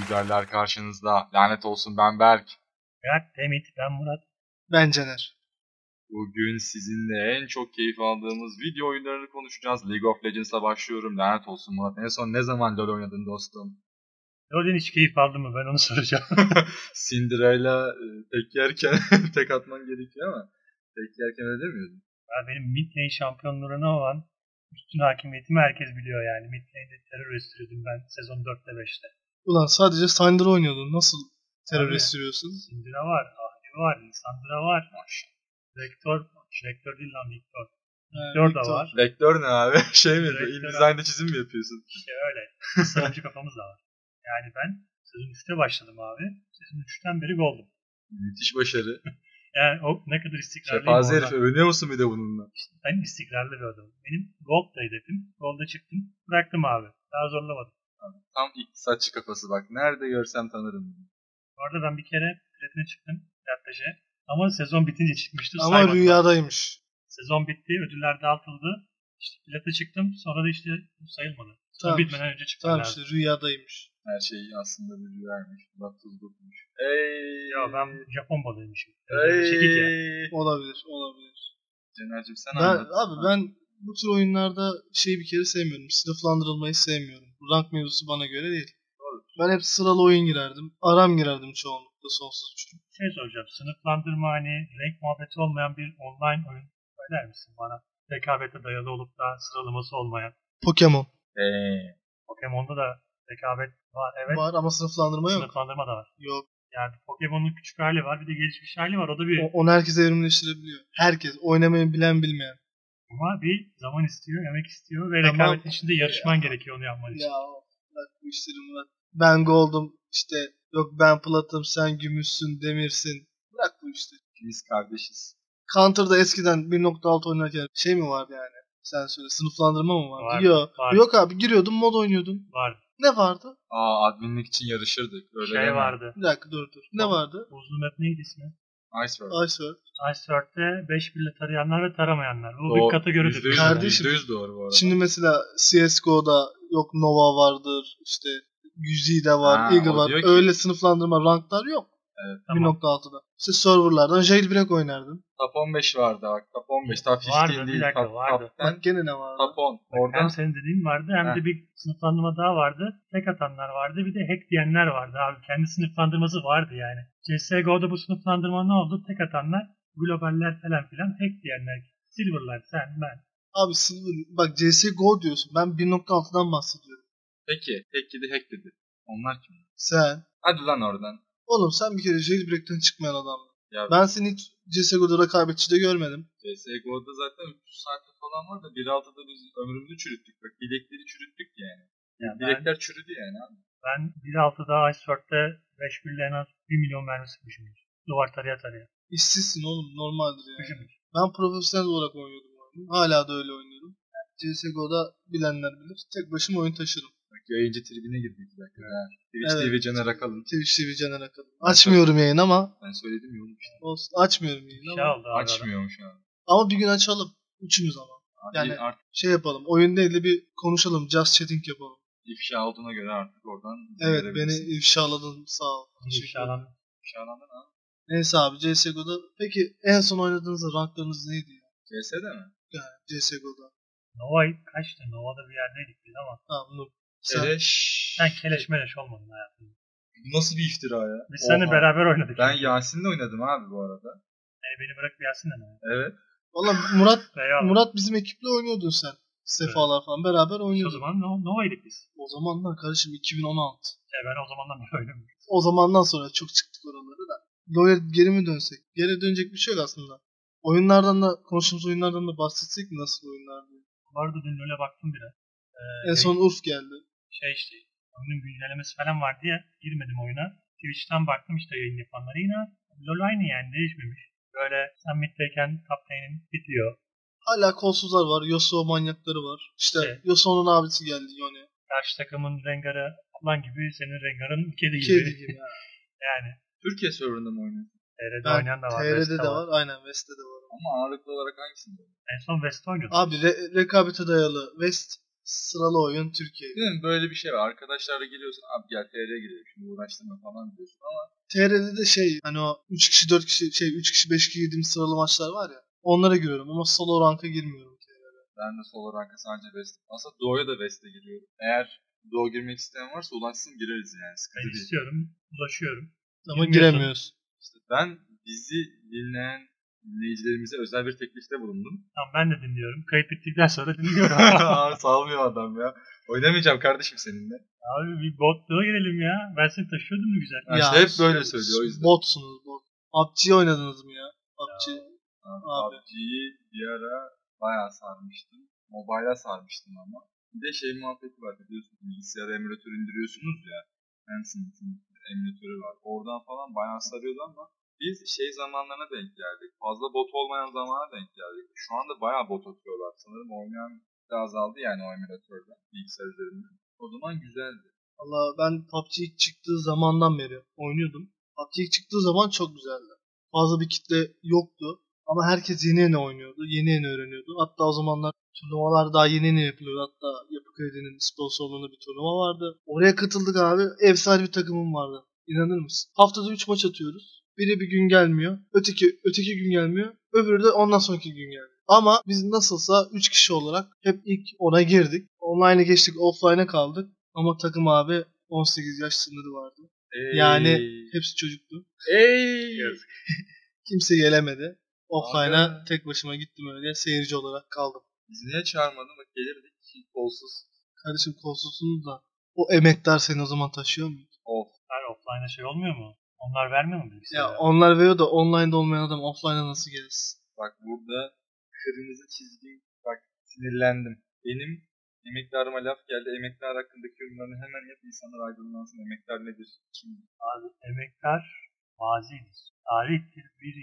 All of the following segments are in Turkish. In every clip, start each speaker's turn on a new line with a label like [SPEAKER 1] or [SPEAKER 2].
[SPEAKER 1] Güzeller karşınızda. Lanet olsun ben Berk.
[SPEAKER 2] Berk, Demit, ben Murat.
[SPEAKER 3] Ben Caner.
[SPEAKER 1] Bugün sizinle en çok keyif aldığımız video oyunlarını konuşacağız. League of Legends'a başlıyorum. Lanet olsun Murat. En son ne zaman LoL oynadın dostum?
[SPEAKER 2] LoL'ün hiç keyif aldın mı? Ben onu soracağım.
[SPEAKER 1] Cinderella e, tek yerken tek atman gerekiyor ama tek yerken öyle demiyordun.
[SPEAKER 2] Ya benim mid lane şampiyonluğuna olan üstün hakimiyetimi herkes biliyor yani. Mid lane'de terör östürdüm ben sezon 4'te 5'te.
[SPEAKER 3] Ulan sadece Syndra oynuyordun. Nasıl terör
[SPEAKER 2] Abi.
[SPEAKER 3] estiriyorsun?
[SPEAKER 2] Sindira var, Ahri var, Lisandra var. Vektör, Vektör değil lan Victor. Victor da
[SPEAKER 3] Victor.
[SPEAKER 2] var.
[SPEAKER 1] Vektör ne abi? Şey mi?
[SPEAKER 2] Vektör
[SPEAKER 1] InDesign'da çizim mi yapıyorsun?
[SPEAKER 2] İşte öyle. Sarıcı kafamız da var. Yani ben sezon 3'te başladım abi. Sezon 3'ten beri goldum.
[SPEAKER 1] Müthiş başarı.
[SPEAKER 2] Yani o ne kadar istikrarlıyım.
[SPEAKER 1] Şefazi
[SPEAKER 2] orada.
[SPEAKER 1] herif övünüyor musun bir de bununla?
[SPEAKER 2] Ben istikrarlı bir adamım. Benim gold'da hedefim. Gold'a çıktım. Bıraktım abi. Daha zorlamadım.
[SPEAKER 1] Tam iktisatçı kafası bak. Nerede görsem tanırım.
[SPEAKER 2] Bu arada ben bir kere platine çıktım. Plateje. Ama sezon bitince çıkmıştı.
[SPEAKER 3] Ama
[SPEAKER 2] saymadım.
[SPEAKER 3] rüyadaymış.
[SPEAKER 2] Sezon bitti. Ödüller dağıtıldı. İşte plate çıktım. Sonra da işte bu sayılmadı. Sezon
[SPEAKER 3] Tamam işte.
[SPEAKER 2] bitmeden önce çıktı.
[SPEAKER 3] Tamam işte
[SPEAKER 2] lazım.
[SPEAKER 3] rüyadaymış.
[SPEAKER 1] Her şeyi aslında bir rüyaymış. Bak tuz dokunmuş. Ey
[SPEAKER 2] Ya ben Japon balığıymışım. Ee,
[SPEAKER 1] Ey.
[SPEAKER 2] Çekik ya.
[SPEAKER 3] Olabilir, olabilir.
[SPEAKER 1] Cener'cim sen
[SPEAKER 3] Ben,
[SPEAKER 1] anlat.
[SPEAKER 3] abi ben bu tür oyunlarda şeyi bir kere sevmiyorum. Sınıflandırılmayı sevmiyorum. Bu rank mevzusu bana göre değil. Ben hep sıralı oyun girerdim. Aram girerdim çoğunlukla sonsuz uçtum.
[SPEAKER 2] Şey soracağım. Sınıflandırma hani renk muhabbeti olmayan bir online oyun söyler misin bana? Rekabete dayalı olup da sıralaması olmayan.
[SPEAKER 3] Pokemon
[SPEAKER 1] Ey.
[SPEAKER 2] Pokemon'da da rekabet var. Evet.
[SPEAKER 3] var ama sınıflandırma yok.
[SPEAKER 2] Sınıflandırma da var.
[SPEAKER 3] Yok.
[SPEAKER 2] Yani Pokemon'un küçük hali var. Bir de gelişmiş hali var. O da bir
[SPEAKER 3] O- Onu herkes evrimleştirebiliyor. Herkes. Oynamayı bilen bilmeyen.
[SPEAKER 2] Ama bir zaman istiyor, emek istiyor ve
[SPEAKER 3] Tamam.
[SPEAKER 2] rekabetin içinde yarışman gerekiyor onu yapman için.
[SPEAKER 3] Ya bak bu işleri Murat. Ben goldum işte yok ben platım sen gümüşsün demirsin. Bırak bu işleri.
[SPEAKER 1] Biz kardeşiz.
[SPEAKER 3] Counter'da eskiden 1.6 oynarken şey mi vardı yani? Sen söyle sınıflandırma mı vardı?
[SPEAKER 2] Vardı,
[SPEAKER 3] yok.
[SPEAKER 2] vardı.
[SPEAKER 3] Yok abi giriyordun mod oynuyordun.
[SPEAKER 2] Var.
[SPEAKER 3] Ne vardı?
[SPEAKER 1] Aa adminlik için yarışırdık. Öyle
[SPEAKER 2] şey
[SPEAKER 1] deme.
[SPEAKER 2] vardı.
[SPEAKER 3] Bir dakika dur dur. Ne
[SPEAKER 2] Tamam.
[SPEAKER 3] vardı?
[SPEAKER 2] Buzlu map neydi ismi?
[SPEAKER 1] Iceberg.
[SPEAKER 3] Ice World.
[SPEAKER 2] Iceberg'de 5 birle tarayanlar ve taramayanlar. Bu
[SPEAKER 1] Doğru.
[SPEAKER 2] bir kategoridir.
[SPEAKER 1] Yüzde yüz-
[SPEAKER 3] Kardeşim.
[SPEAKER 1] yüzde yüz doğru bu arada.
[SPEAKER 3] Şimdi mesela CSGO'da yok Nova vardır işte Yüzi de var,
[SPEAKER 1] Ha,
[SPEAKER 3] Eagle
[SPEAKER 1] o
[SPEAKER 3] var.
[SPEAKER 1] diyor ki-
[SPEAKER 3] Öyle sınıflandırma ranklar yok.
[SPEAKER 2] Tamam.
[SPEAKER 3] 1.6'da. İşte serverlardan Jailbreak oynardın.
[SPEAKER 1] Top 15 vardı bak. Top 15. Top 15
[SPEAKER 2] Vardı, bir
[SPEAKER 1] değil.
[SPEAKER 2] dakika,
[SPEAKER 1] top,
[SPEAKER 2] vardı.
[SPEAKER 1] Top 10.
[SPEAKER 3] Bak gene ne vardı?
[SPEAKER 1] Top 10.
[SPEAKER 2] Hem
[SPEAKER 1] Oradan
[SPEAKER 2] senin dediğin vardı hem de bir sınıflandırma daha vardı. Tek atanlar vardı bir de hack diyenler vardı abi. Kendi sınıflandırması vardı yani. CSGO'da bu sınıflandırma ne oldu? Tek atanlar, globaller falan filan hack diyenler. Silver'lar sen ben.
[SPEAKER 3] Abi Silver bak CSGO diyorsun. Ben 1.6'dan bahsediyorum.
[SPEAKER 1] peki. Hack gidi hack dedi. Onlar kim?
[SPEAKER 3] Sen.
[SPEAKER 1] Hadi lan oradan.
[SPEAKER 3] Oğlum sen bir kere jailbreak'ten çıkmayan adamdın.
[SPEAKER 1] Ya
[SPEAKER 3] Ben seni hiç CSGO'da rekabetçi de görmedim.
[SPEAKER 1] Ee, CSGO'da zaten 300 saat falan var da 1.6'da biz ömrümüzü çürüttük. Bak bilekleri çürüttük yani.
[SPEAKER 2] Yani ben-
[SPEAKER 1] Bilekler çürüdü yani abi.
[SPEAKER 2] Ben 1.6'da Iceberg'de 5 birle en az 1 milyon mermi sıkmışımdır. Duvar taraya taraya.
[SPEAKER 3] İşsizsin oğlum normaldir yani.
[SPEAKER 2] Düşünün.
[SPEAKER 3] Ben profesyonel olarak oynuyordum oyunu. Hala da öyle oynuyorum. Yani CSGO'da bilenler bilir. Tek başıma oyun taşırım.
[SPEAKER 1] Bak yayıncı tribine girdik bir dakika. Ha. Twitch
[SPEAKER 3] Evet.
[SPEAKER 1] TV Caner Akalın.
[SPEAKER 3] Twitch TV Caner Akalın. Açmıyorum yayın ama
[SPEAKER 1] Ben söyledim ya oğlum işte.
[SPEAKER 3] olsun. Açmıyorum yayın
[SPEAKER 2] Şey
[SPEAKER 3] ama.
[SPEAKER 2] oldu abi.
[SPEAKER 1] Açmıyormuş abi.
[SPEAKER 3] Ama bir gün açalım. Üçümüz ama.
[SPEAKER 1] Abi
[SPEAKER 3] Yani-
[SPEAKER 1] artık
[SPEAKER 3] Şey yapalım. Oyun değil de bir konuşalım. Just chatting yapalım.
[SPEAKER 1] ifşa olduğuna göre artık oradan
[SPEAKER 3] Evet beni
[SPEAKER 1] verebilirsin. ifşaladın.
[SPEAKER 3] ifşaladın. Sağ ol. Teşekkür ederim.
[SPEAKER 2] İnşallah.
[SPEAKER 1] İfşalandın ha.
[SPEAKER 3] Neyse abi CSGO'da peki en son oynadığınız ranklarınız neydi ya?
[SPEAKER 1] CS'de mi?
[SPEAKER 3] Yani CSGO'da.
[SPEAKER 2] Nova kaçtı? Nova'da bir yerdeydik biz ama.
[SPEAKER 3] Tamam Nur. Sen,
[SPEAKER 1] Ee? Keleş.
[SPEAKER 2] Sen keleş meleş olmadın hayatım.
[SPEAKER 1] Bu Nasıl bir iftira ya?
[SPEAKER 2] Biz seninle
[SPEAKER 1] Oha.
[SPEAKER 2] beraber oynadık.
[SPEAKER 1] Ben Yasin'le oynadım abi bu arada.
[SPEAKER 2] Yani beni bırak bir yersin de mi?
[SPEAKER 1] Evet.
[SPEAKER 3] Valla Murat
[SPEAKER 2] Veya
[SPEAKER 3] Murat bizim ekiple oynuyordun sen. Sefalar falan beraber
[SPEAKER 2] o
[SPEAKER 3] oynuyordun.
[SPEAKER 2] zaman no, Nova'ydık biz.
[SPEAKER 3] O zamanlar kardeşim 2016.
[SPEAKER 2] Ya ben o zamandan beri oynamıyorum.
[SPEAKER 3] O zamandan sonra çok çıktık oralara da. LoL'e geri mi dönsek? Geri dönecek bir şey yok aslında. Oyunlardan da konuştuğumuz oyunlardan da bahsetsek mi nasıl oyunlar diye.
[SPEAKER 2] Bu arada dün LoL'e baktım biraz. Ee,
[SPEAKER 3] En son Urf geldi.
[SPEAKER 2] Şey işte. Oyunun güncellemesi falan vardı ya. Girmedim oyuna. Twitch'ten baktım işte yayın yapanlara yine. LoL aynı yani değişmemiş. Böyle sen middeyken top lane'in bitiyor.
[SPEAKER 3] Hala kolsuzlar var. Yasuo manyakları var. İşte
[SPEAKER 2] Evet.
[SPEAKER 3] Yasuo'nun abisi geldi yani.
[SPEAKER 2] karşı takımın rengarı ablan gibi senin rengarın kedi gibi.
[SPEAKER 3] Kedi gibi.
[SPEAKER 2] Yani
[SPEAKER 1] Türkiye serverında mı oynuyorsun?
[SPEAKER 2] TR'de
[SPEAKER 3] Ben
[SPEAKER 2] oynayan da var.
[SPEAKER 3] TR'de
[SPEAKER 2] West'te
[SPEAKER 3] de var. Aynen West'te de var.
[SPEAKER 1] Ama ağırlıklı olarak hangisinde?
[SPEAKER 2] En son West oynadı.
[SPEAKER 3] Abi re- rekabete dayalı West Sıralı oyun Türkiye.
[SPEAKER 1] Değil mi? Böyle bir şey var. Arkadaşlarla geliyorsun. Abi gel TR'ye gidelim. Şimdi uğraştırma falan diyorsun ama
[SPEAKER 3] TR'de de şey hani o 3 kişi 4 kişi şey 3 kişi 5 kişi girdiğim sıralı maçlar var ya. Onlara giriyorum ama solo ranka girmiyorum.
[SPEAKER 1] ben de sol olarak sadece West. Aslında Doğu'ya da West'e giriyorum. Eğer Doğu girmek isteyen varsa ulaşsın gireriz yani. Sıkıntı
[SPEAKER 2] Ben
[SPEAKER 1] değil.
[SPEAKER 2] istiyorum, ulaşıyorum.
[SPEAKER 3] Ama
[SPEAKER 2] Girmiyorsun.
[SPEAKER 3] giremiyoruz.
[SPEAKER 1] İşte ben bizi dinleyen dinleyicilerimize özel bir teklifte bulundum.
[SPEAKER 2] Tamam ben de dinliyorum. Kayıt bittikten sonra dinliyorum.
[SPEAKER 1] Abi salmıyor adam ya. Oynamayacağım kardeşim seninle.
[SPEAKER 2] Abi bir botluğa girelim ya. Ben seni taşıyordum mu güzel?
[SPEAKER 1] Ha, işte hep böyle söylüyor o yüzden.
[SPEAKER 3] Botsunuz bot. PUBG oynadınız mı ya? PUBG. Abi.
[SPEAKER 1] PUBG'yi bir ara bayağı sarmıştım. Mobile'a sarmıştım ama. Bir de şey muhabbeti var biliyorsunuz bilgisayara emülatör indiriyorsunuz ya. Hansen'in emülatörü var. Oradan falan bayağı sarıyordu ama biz şey zamanlarına denk geldik. Fazla bot olmayan zamana denk geldik. Şu anda bayağı bot atıyorlar. Sanırım oynayan da azaldı yani o emülatörden bilgisayar üzerinden. O zaman güzeldi.
[SPEAKER 3] Valla ben PUBG ilk çıktığı zamandan beri oynuyordum. PUBG ilk çıktığı zaman çok güzeldi. Fazla bir kitle yoktu. Ama herkes yeni yeni oynuyordu. Yeni yeni öğreniyordu. Hatta o zamanlar turnuvalar daha yeni yeni yapılıyordu. Hatta Yapı Kredi'nin sponsorluğunda bir turnuva vardı. Oraya katıldık abi. Efsane bir takımım vardı. İnanır mısın? Haftada 3 maç atıyoruz. Biri bir gün gelmiyor. Öteki öteki gün gelmiyor. Öbürü de ondan sonraki gün gelmiyor. Ama biz nasılsa 3 kişi olarak hep ilk ona girdik. Online'e geçtik, offline'e kaldık. Ama takım abi 18 yaş sınırı vardı. Yani Hepsi çocuktu.
[SPEAKER 1] Ey!
[SPEAKER 2] Yazık.
[SPEAKER 3] Kimse gelemedi. Offline'a
[SPEAKER 1] Abi.
[SPEAKER 3] tek başıma gittim öyle. Seyirci olarak kaldım.
[SPEAKER 1] Bizi niye çağırmadın? Bak Gelirdik ki kolsuz.
[SPEAKER 3] Kardeşim kolsuzsunuz da o emektar seni o zaman taşıyor mu?
[SPEAKER 1] Of.
[SPEAKER 2] Abi offline'a şey olmuyor mu? Onlar vermiyor mu
[SPEAKER 3] Ya
[SPEAKER 2] bilgisayarı?
[SPEAKER 3] onlar veriyor da online'da olmayan adam offline'a nasıl gelsin?
[SPEAKER 1] Bak burada kırmızı çizgi. Bak sinirlendim. Benim emektarıma laf geldi. Emektar hakkındaki yorumlarını hemen yap. insanlar aydınlansın. Emektar nedir? Kim?
[SPEAKER 2] Abi emektar mazidir. Tarihtir, bir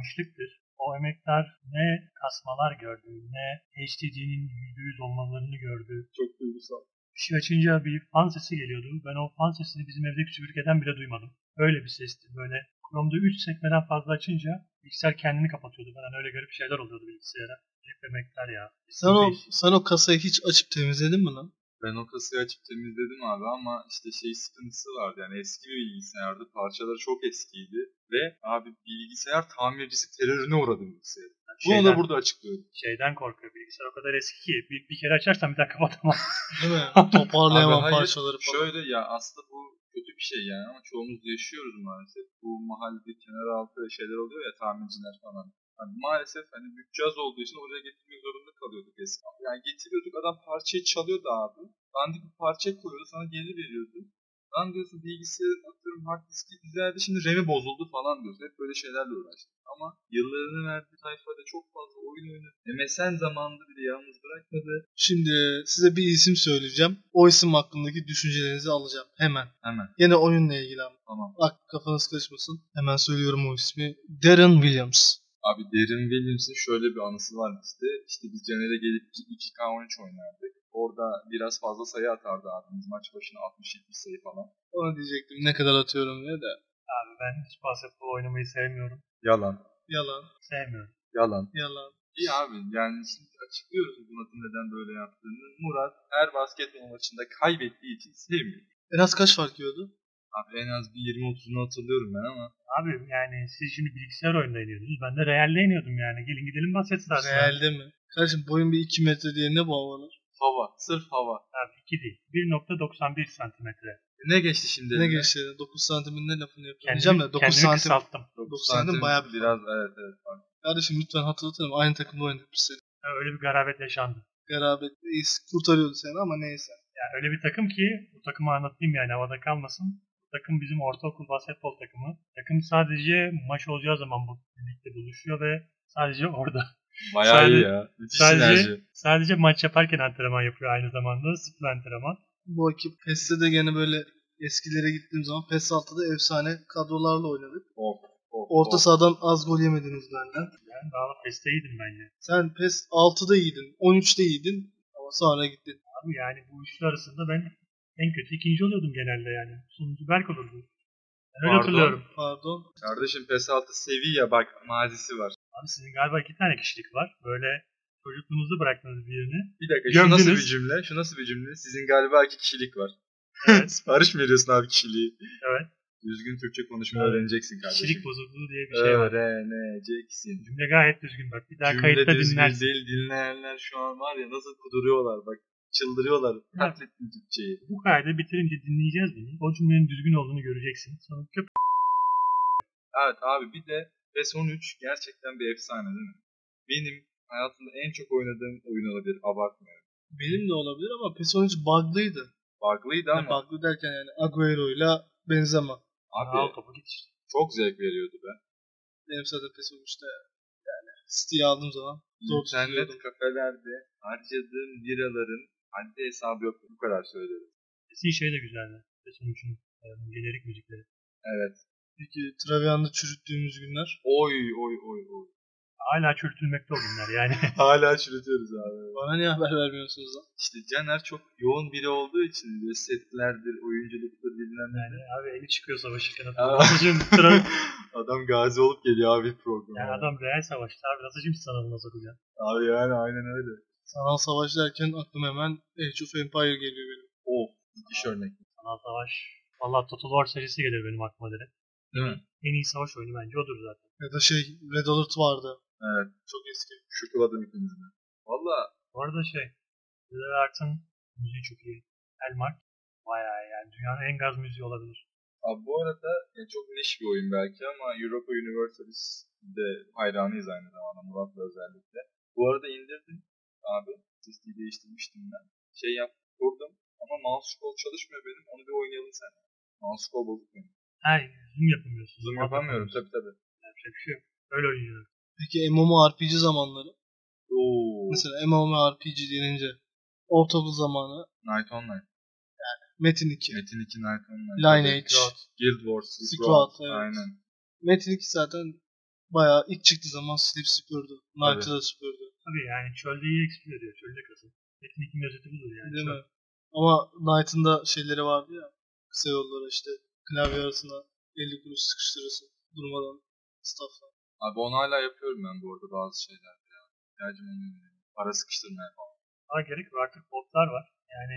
[SPEAKER 2] yaşanmışlıktır. O emektar ne kasmalar gördü, ne HDD'nin %100 olmalarını gördü.
[SPEAKER 1] Çok duygusal.
[SPEAKER 2] Bir şey açınca bir fan sesi geliyordu. Ben o fan sesini bizim evdeki süpürgeden bile duymadım. Öyle bir sesti. Böyle Chrome'da 3 sekmeden fazla açınca bilgisayar kendini kapatıyordu. Ben hani öyle garip şeyler oluyordu bilgisayara. Hep emektar ya.
[SPEAKER 3] Sen o, sen o kasayı hiç açıp temizledin mi lan?
[SPEAKER 1] Ben o kasayı açıp temizledim abi ama işte şey sıkıntısı vardı yani eski bir bilgisayardı. Parçaları çok eskiydi ve abi bilgisayar tamircisi terörüne uğradı bilgisayar. Bunu da
[SPEAKER 2] Şeyden-
[SPEAKER 1] burada açıklıyorum.
[SPEAKER 2] şeyden korkuyor. Bilgisayar o kadar eski ki bir, bir kere açarsan bir daha kapatamaz.
[SPEAKER 3] Değil mi?
[SPEAKER 1] Abi
[SPEAKER 3] Toparlayamam
[SPEAKER 1] hayır,
[SPEAKER 3] parçaları falan.
[SPEAKER 1] Şöyle ya aslında bu kötü bir şey yani ama çoğumuz yaşıyoruz maalesef. Bu mahallede kenar altı şeyler oluyor ya tamirciler falan. Hani maalesef hani bütçe az olduğu için oraya getirmek zorunda kalıyorduk eskiden. Yani getiriyorduk adam parçayı çalıyordu abi. Dandik bir parça koyuyordu sana geri veriyordu. Lan diyorsun bilgisayarın atıyorum hard diski güzeldi şimdi RAM'i bozuldu falan diyorsun. Hep böyle şeylerle uğraştık. Ama yıllarını verdiği sayfada çok fazla oyun oynadı. MSN zamanında bile yalnız bırakmadı.
[SPEAKER 3] Şimdi size bir isim söyleyeceğim. O isim hakkındaki düşüncelerinizi alacağım hemen.
[SPEAKER 1] Hemen
[SPEAKER 3] Yine oyunla ilgili ama.
[SPEAKER 1] tamam.
[SPEAKER 3] Bak kafanız karışmasın. Hemen söylüyorum o ismi. Darren Williams.
[SPEAKER 1] Abi Derin Williams'ın şöyle bir anısı var bizde. İşte biz Caner'e gelip 2K13 oynardık. Orada biraz fazla sayı atardı abimiz. Maç başına 60-70 sayı falan.
[SPEAKER 3] Ona diyecektim ne kadar atıyorum diye de.
[SPEAKER 2] Abi ben hiç basketbol oynamayı sevmiyorum.
[SPEAKER 1] Yalan.
[SPEAKER 3] Yalan,
[SPEAKER 2] Sevmiyorum.
[SPEAKER 1] Yalan.
[SPEAKER 3] yalan.
[SPEAKER 1] İyi abi yani şimdi açıklıyoruz Murat'ın neden böyle yaptığını. Murat her basketbol maçında kaybettiği için sevmiyor.
[SPEAKER 3] En az kaç fark yiyordu?
[SPEAKER 1] Abi en az bir 20-30'unu hatırlıyorum ben ama.
[SPEAKER 2] Abi yani siz şimdi bilgisayar oyunda iniyordunuz. Ben de Real'de iniyordum yani. Gelin gidelim basket sahasına.
[SPEAKER 3] Realde mi? Kardeşim boyun bir 2 metre diye ne bu havalar?
[SPEAKER 1] Hava. Sırf hava. E,
[SPEAKER 2] Abi 2 değil. 1.91 santimetre.
[SPEAKER 1] Ne geçti şimdi?
[SPEAKER 3] Ne
[SPEAKER 1] eline?
[SPEAKER 3] geçti? 9 santimin ne lafını yapıyor? Diyeceğim
[SPEAKER 2] Kendimi,
[SPEAKER 3] ya 9
[SPEAKER 2] kendimi
[SPEAKER 3] santim.
[SPEAKER 2] kısalttım.
[SPEAKER 1] Dokuz
[SPEAKER 3] santim bayağı bir-
[SPEAKER 1] biraz evet evet. fark.
[SPEAKER 3] Kardeşim lütfen hatırlatırım. Aynı takımda oynadık biz seni.
[SPEAKER 2] Ya Öyle bir garabet yaşandı.
[SPEAKER 3] Beraber iyiyiz. kurtarıyordu seni ama neyse.
[SPEAKER 2] Yani öyle bir takım ki bu takımı anlatayım yani havada kalmasın. Bu takım bizim ortaokul basketbol takımı. Takım sadece maç olacağı zaman bu birlikte buluşuyor ve sadece orada
[SPEAKER 1] Bayağı iyi
[SPEAKER 2] Sadece-
[SPEAKER 1] ya. Müthiş
[SPEAKER 2] sadece,
[SPEAKER 1] sinerji.
[SPEAKER 2] sadece maç yaparken antrenman yapıyor aynı zamanda. Sıfır antrenman.
[SPEAKER 3] Bu ekip PES'te de gene böyle eskilere gittiğim zaman PES 6'da efsane kadrolarla oynadık.
[SPEAKER 1] Of, of,
[SPEAKER 3] Orta
[SPEAKER 1] of.
[SPEAKER 3] sahadan az gol yemediniz benden.
[SPEAKER 2] Yani daha da peste iyiydim ben ya.
[SPEAKER 3] Sen PES 6'da iyiydin, 13'te iyiydin ama sonra gittin.
[SPEAKER 2] Abi yani bu üçlü arasında ben en kötü ikinci oluyordum genelde yani. Sonuncu Berk olurdu. Ben öyle
[SPEAKER 1] Pardon.
[SPEAKER 2] hatırlıyorum.
[SPEAKER 3] Pardon.
[SPEAKER 1] Kardeşim PES 6 seviye bak mazisi var.
[SPEAKER 2] Abi sizin galiba iki tane kişilik var. Böyle Çocukluğunuzu bıraktınız bir yerine.
[SPEAKER 1] Bir dakika şu
[SPEAKER 2] Gömdünüz.
[SPEAKER 1] nasıl bir cümle? Şu nasıl bir cümle? Sizin galiba iki kişilik var.
[SPEAKER 2] Evet.
[SPEAKER 1] Sipariş mi veriyorsun abi kişiliği?
[SPEAKER 2] Evet.
[SPEAKER 1] Düzgün Türkçe konuşmayı
[SPEAKER 2] Evet.
[SPEAKER 1] öğreneceksin kardeşim.
[SPEAKER 2] Kişilik bozukluğu diye bir şey var.
[SPEAKER 1] Öğreneceksin.
[SPEAKER 2] Cümle gayet düzgün bak. Bir daha
[SPEAKER 1] Cümle
[SPEAKER 2] kayıtta
[SPEAKER 1] düzgün
[SPEAKER 2] dinlersin.
[SPEAKER 1] değil dinleyenler şu an var ya nasıl kuduruyorlar bak. Çıldırıyorlar. Katlettin Türkçeyi.
[SPEAKER 2] Bu kaydı bitirince dinleyeceğiz bunu. O cümlenin düzgün olduğunu göreceksin. Sonra köp
[SPEAKER 1] Evet abi bir de PES 13 gerçekten bir efsane değil mi? Benim hayatımda en çok oynadığım oyun olabilir. Abartmıyorum.
[SPEAKER 3] Benim de olabilir ama PES 13 bug'lıydı.
[SPEAKER 1] Bug'lıydı
[SPEAKER 3] Yani
[SPEAKER 1] ama
[SPEAKER 3] bug'lı derken yani Agüero'yla Benzema.
[SPEAKER 1] abi
[SPEAKER 2] al topu git.
[SPEAKER 1] çok zevk veriyordu be.
[SPEAKER 3] Benim zaten PES 13'te yani City'yi aldığım zaman zor tutuyordum.
[SPEAKER 1] İnternet kafelerde harcadığım liraların haddi hesabı yok. Bu kadar söylüyorum.
[SPEAKER 2] Sesi şey de güzeldi. Sesin üçün gelerek müzikleri.
[SPEAKER 1] Evet.
[SPEAKER 3] Peki Travian'da çürüttüğümüz günler.
[SPEAKER 1] Oy oy oy oy.
[SPEAKER 2] Hala çürütülmekte o günler yani.
[SPEAKER 1] Hala çürütüyoruz abi.
[SPEAKER 3] Bana niye haber vermiyorsunuz lan?
[SPEAKER 1] İşte Caner çok yoğun biri olduğu için böyle setlerdir, oyunculuktur bilmem ne.
[SPEAKER 2] yani abi eli çıkıyor savaşırken.
[SPEAKER 1] Aa.
[SPEAKER 2] Atıcım sıra...
[SPEAKER 1] Adam gazi olup geliyor abi programa.
[SPEAKER 2] yani adam real savaşta. Abi atıcım sana bunu nasıl ya.
[SPEAKER 1] Abi yani aynen öyle.
[SPEAKER 3] Sanal savaş derken aklıma hemen Age of Empire geliyor benim.
[SPEAKER 1] Of. Müthiş örnek.
[SPEAKER 2] Sanal savaş. Valla Total War serisi gelir benim aklıma direkt.
[SPEAKER 1] Değil mi?
[SPEAKER 2] En iyi savaş oyunu bence odur zaten.
[SPEAKER 3] Ya da şey Red Alert vardı.
[SPEAKER 1] Evet. Çok eski. Şokoladım ikimizi de. Valla
[SPEAKER 2] Bu arada şey. Güzel Art'ın müziği çok iyi. Elmar. Bayağı iyi yani dünyanın en gaz müziği olabilir.
[SPEAKER 1] abi bu arada ya çok niş bir oyun belki ama Europa Universalis de hayranıyız aynı zamanda Murat'la özellikle. Bu arada indirdim abi. Listeyi değiştirmiştim ben. Şey yap, kurdum ama mouse scroll çalışmıyor benim. Onu bir oynayalım sen. Mouse scroll bozuk benim.
[SPEAKER 2] Ha zoom yapamıyorsun.
[SPEAKER 1] Zoom yapamıyorum tabii tabii.
[SPEAKER 2] Yapacak bir şey yok. Öyle oynuyorum.
[SPEAKER 3] Peki MMORPG zamanları.
[SPEAKER 1] Oo.
[SPEAKER 3] Mesela MMORPG denince ortaokul zamanı
[SPEAKER 1] Night Online.
[SPEAKER 3] Metin 2.
[SPEAKER 1] Metin 2 Night Online.
[SPEAKER 3] Lineage.
[SPEAKER 1] Tabii. Guild Wars.
[SPEAKER 3] Squad, evet.
[SPEAKER 1] Aynen.
[SPEAKER 3] Metin 2 zaten bayağı ilk çıktığı zaman silip süpürdü. Knight'ı da süpürdü.
[SPEAKER 2] Tabii yani çölde iyi eksik veriyor. Çölde kasın. Teknikin özeti budur yani.
[SPEAKER 3] Değil
[SPEAKER 2] Çöl.
[SPEAKER 3] mi? Ama Knight'ın da şeyleri vardı ya. Kısa yolları işte. Klavye arasına 50 kuruş sıkıştırırsın. Durmadan staffla.
[SPEAKER 1] Abi onu hala yapıyorum ben bu arada bazı şeyler. Ya. İhtiyacım olmuyor. Para sıkıştırmaya falan.
[SPEAKER 2] Daha gerek yok. Artık botlar var. Yani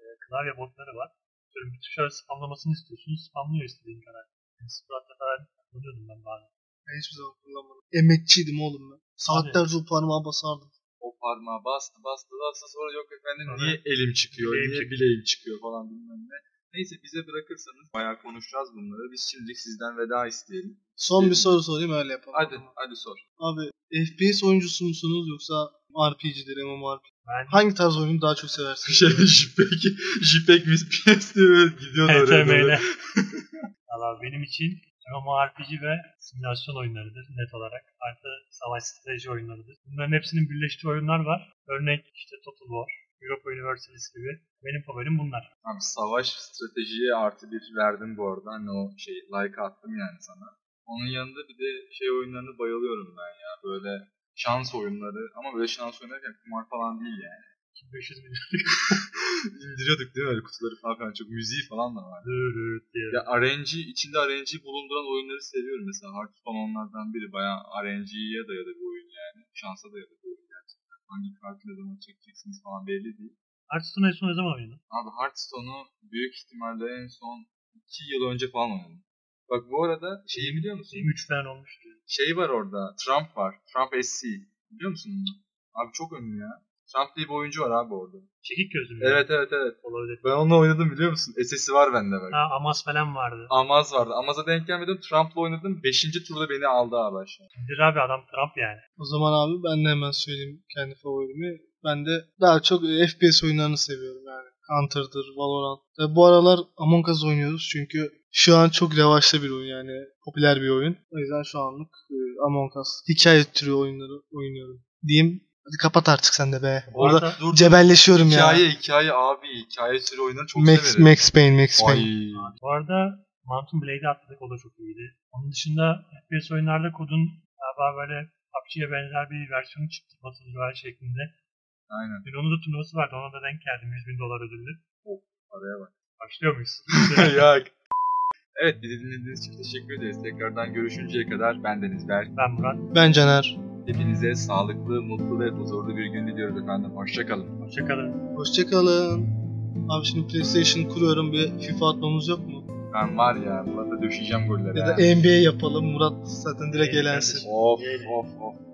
[SPEAKER 2] e, klavye botları var. Böyle bir tuşa spamlamasını istiyorsunuz. Spamlıyor istediğin kadar. Yani Sprat'ta falan kullanıyordum ben bazen.
[SPEAKER 3] Ben hiçbir zaman kullanmadım. Emekçiydim oğlum ben. Saatlerce o parmağa basardım.
[SPEAKER 1] O parmağı bastı bastı bastı sonra yok efendim
[SPEAKER 2] Sonra
[SPEAKER 1] niye elim çıkıyor,
[SPEAKER 2] bileğim
[SPEAKER 1] niye
[SPEAKER 2] çıkıyor.
[SPEAKER 1] bileğim çıkıyor falan bilmem ne. Neyse bize bırakırsanız bayağı konuşacağız bunları. Biz şimdilik sizden veda isteyelim.
[SPEAKER 3] Son bir
[SPEAKER 1] Benim-
[SPEAKER 3] soru sorayım öyle yapalım.
[SPEAKER 1] Hadi hadi sor.
[SPEAKER 3] Abi FPS oyuncusu musunuz yoksa RPG'dir, MMORPG?
[SPEAKER 2] Ben
[SPEAKER 3] Hangi tarz oyunu daha çok seversiniz?
[SPEAKER 1] jipek, jipek mis piyes diye gidiyor
[SPEAKER 2] HTML. Valla benim için MMORPG ve simülasyon oyunlarıdır net olarak. Artı savaş strateji oyunlarıdır. Bunların hepsinin birleştiği oyunlar var. Örnek işte Total War, Europa Universalis gibi. Benim favorim bunlar.
[SPEAKER 1] Abi savaş stratejiye artı bir verdim bu arada. Hani o şey like attım yani sana. Onun yanında bir de şey oyunlarını bayılıyorum ben ya. Böyle şans oyunları ama böyle şans oynarken kumar falan değil yani.
[SPEAKER 2] 2500 milyon
[SPEAKER 1] İndiriyorduk değil mi öyle kutuları falan filan. Çok müziği falan da var.
[SPEAKER 2] dürüt diye.
[SPEAKER 1] Ya RNG, içinde RNG bulunduran oyunları seviyorum. Mesela Hearthstone onlardan biri. Bayağı RNG'ye dayalı bir oyun yani. Şansa dayalı bir oyun gerçekten. Hangi kartı ne zaman çekeceksiniz falan belli değil.
[SPEAKER 2] Hearthstone en son ne zaman oynadın?
[SPEAKER 1] Abi Hearthstone'u büyük ihtimalle en son 2 yıl önce falan oynadım. Bak bu arada şeyi biliyor musun?
[SPEAKER 2] 3 tane olmuştur.
[SPEAKER 1] Şey var orada. Trump var. Trump SC. Biliyor musun? onu? Abi çok ünlü ya. Trump diye bir oyuncu var abi orada.
[SPEAKER 2] Çekik gözlü mü?
[SPEAKER 1] Evet evet evet.
[SPEAKER 2] Olabilir.
[SPEAKER 1] Ben onunla oynadım biliyor musun? SS'i var bende bak.
[SPEAKER 2] Ha Amas falan vardı.
[SPEAKER 1] Amaz vardı. Amaz'a denk gelmedim. Trump'la oynadım. 5. turda beni aldı abi aşağı.
[SPEAKER 2] Şimdi abi adam Trump yani.
[SPEAKER 3] O zaman abi ben de hemen söyleyeyim kendi favorimi. Ben de daha çok e, FPS oyunlarını seviyorum yani. Counter'dır, Valorant. Ve bu aralar Among Us oynuyoruz çünkü şu an çok revaçta bir oyun yani popüler bir oyun. O yüzden şu anlık e, Among Us hikaye türü oyunları oynuyorum diyeyim. Hadi kapat artık sen de be.
[SPEAKER 2] Bu arada
[SPEAKER 1] Orada dur.
[SPEAKER 3] Cebelleşiyorum ya.
[SPEAKER 1] Hikaye hikaye abi. Hikaye türü oyunları çok
[SPEAKER 3] Max,
[SPEAKER 1] severim.
[SPEAKER 3] Max Payne, Max Payne.
[SPEAKER 1] Ay.
[SPEAKER 2] Bu arada Mountain Blade'i atladık o da çok iyiydi. Onun dışında FPS oyunlarda kodun galiba böyle PUBG'ye benzer bir versiyonu çıktı. Battle Royale şeklinde.
[SPEAKER 1] Aynen.
[SPEAKER 2] Dün onun da turnuvası vardı. Ona da denk geldim. 100 bin dolar ödüllü.
[SPEAKER 1] Araya bak.
[SPEAKER 2] Başlıyor muyuz?
[SPEAKER 1] Yak. Evet bizi dinlediğiniz için teşekkür ederiz. Tekrardan görüşünceye kadar ben Deniz Berk.
[SPEAKER 2] ben Murat.
[SPEAKER 3] Ben Caner.
[SPEAKER 1] Hepinize sağlıklı, mutlu ve huzurlu bir gün diliyoruz efendim. Hoşçakalın.
[SPEAKER 2] Hoşçakalın.
[SPEAKER 3] Hoşçakalın. Abi şimdi PlayStation kuruyorum bir FIFA atmamız yok mu?
[SPEAKER 1] Ben var ya, burada döşeyeceğim gollere.
[SPEAKER 3] Ya da
[SPEAKER 1] ha.
[SPEAKER 3] NBA yapalım. Murat zaten direkt
[SPEAKER 2] Evet,
[SPEAKER 3] eğlensin.
[SPEAKER 1] Of
[SPEAKER 2] Diyelim.
[SPEAKER 1] of of.